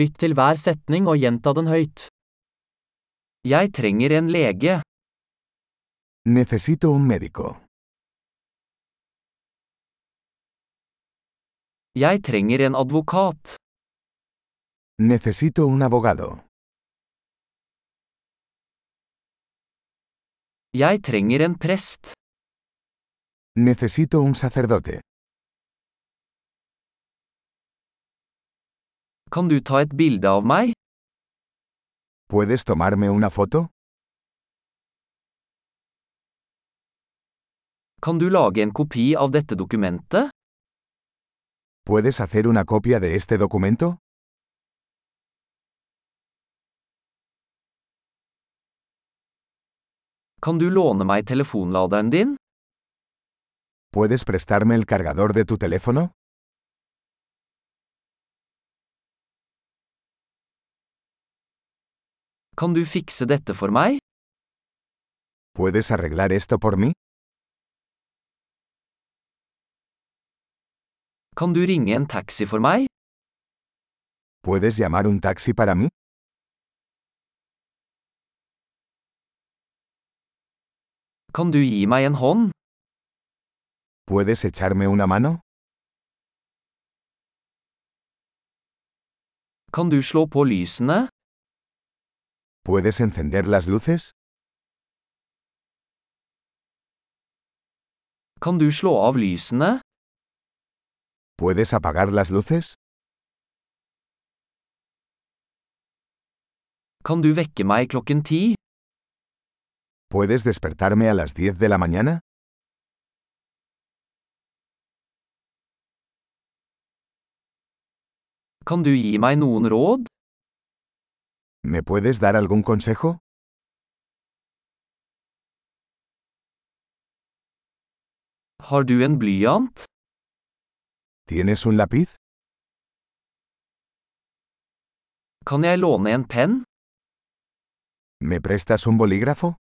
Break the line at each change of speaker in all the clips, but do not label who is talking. Lytt til hver setning og gjenta den høyt. Jeg trenger en lege.
Necesito un médico.
Jeg trenger en advokat.
Necesito un abogado.
Jeg trenger en prest.
Necesito un sacerdote.
Kan du ta et bilde av meg?
¿Puedes tomarme una foto?
Kan du lage en kopi av dette dokumentet?
¿Puedes hacer una copia de este documento?
Kan du låne meg telefonladeren din?
¿Puedes prestarme el cargador de tu teléfono?
Kan du fikse dette for meg?
¿Puedes arreglar esto por mí?
Kan du ringe en taxi for meg?
¿Puedes llamar un taxi para mí?
Kan du gi meg en hånd?
¿Puedes echarme una mano?
Kan du slå på lysene?
¿Puedes encender las luces?
Kan du slå av lysene?
¿Puedes apagar las luces?
Kan du vekke meg klokken ti?
¿Puedes despertarme a las 10 de la mañana?
Kan du gi meg noen råd?
¿Me puedes dar algún consejo?
Har du en blyant?
¿Tienes un lápiz?
Kan jeg låne en penn?
¿Me prestas un bolígrafo?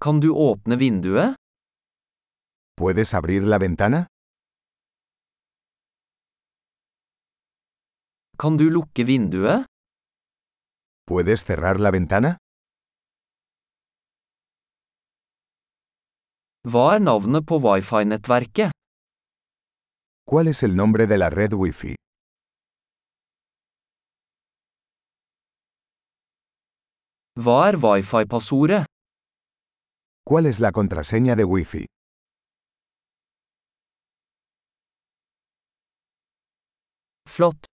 Kan du åpne vinduet?
¿Puedes abrir la ventana?
Kan du lukke vinduet?
¿Puedes cerrar la ventana?
Hva er navnet på wifi-nettverket?
¿Cuál es el nombre de la red Wi-Fi?
Hva er wifi-passordet?
¿Cuál es la contraseña de Wi-Fi?
Flott!